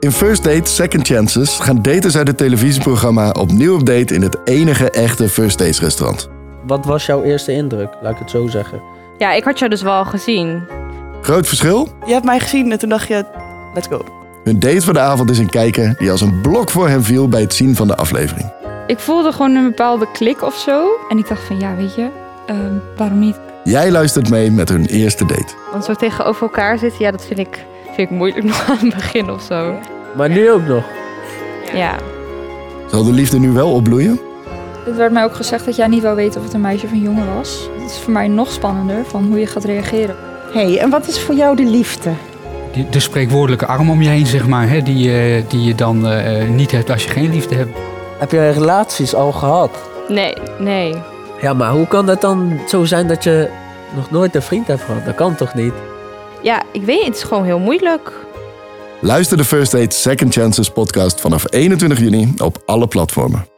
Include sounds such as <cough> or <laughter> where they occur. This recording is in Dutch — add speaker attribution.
Speaker 1: In First Date Second Chances gaan daters uit het televisieprogramma opnieuw op date in het enige echte First Dates restaurant.
Speaker 2: Wat was jouw eerste indruk? Laat ik het zo zeggen.
Speaker 3: Ja, ik had jou dus wel gezien.
Speaker 1: Groot verschil?
Speaker 4: Je hebt mij gezien en toen dacht je, let's go.
Speaker 1: Hun date van de avond is een kijker die als een blok voor hem viel bij het zien van de aflevering.
Speaker 3: Ik voelde gewoon een bepaalde klik of zo. En ik dacht van, ja, weet je, ehm, waarom niet?
Speaker 1: Jij luistert mee met hun eerste date.
Speaker 3: Want zo tegenover elkaar zitten, ja, dat vind ik, vind ik moeilijk <laughs> nog aan het begin of zo.
Speaker 2: Maar nu ook nog.
Speaker 3: Ja.
Speaker 1: Zal de liefde nu wel opbloeien?
Speaker 5: Het werd mij ook gezegd dat jij niet wou weten of het een meisje of een jongen was. Dat is voor mij nog spannender van hoe je gaat reageren.
Speaker 6: hey, en wat is voor jou de liefde?
Speaker 7: Die- De spreekwoordelijke arm om je heen, zeg maar, hè, die, eh, die je dan eh, eh, niet hebt als je geen liefde hebt.
Speaker 8: Heb jij relaties al gehad?
Speaker 3: Nee, nee.
Speaker 8: Ja, maar hoe kan dat dan zo zijn dat je nog nooit een vriend hebt gehad? Dat kan toch niet?
Speaker 3: Ja, ik weet niet, het is gewoon heel moeilijk.
Speaker 1: Luister de First Date Second Chances podcast vanaf 21 juni op alle platformen.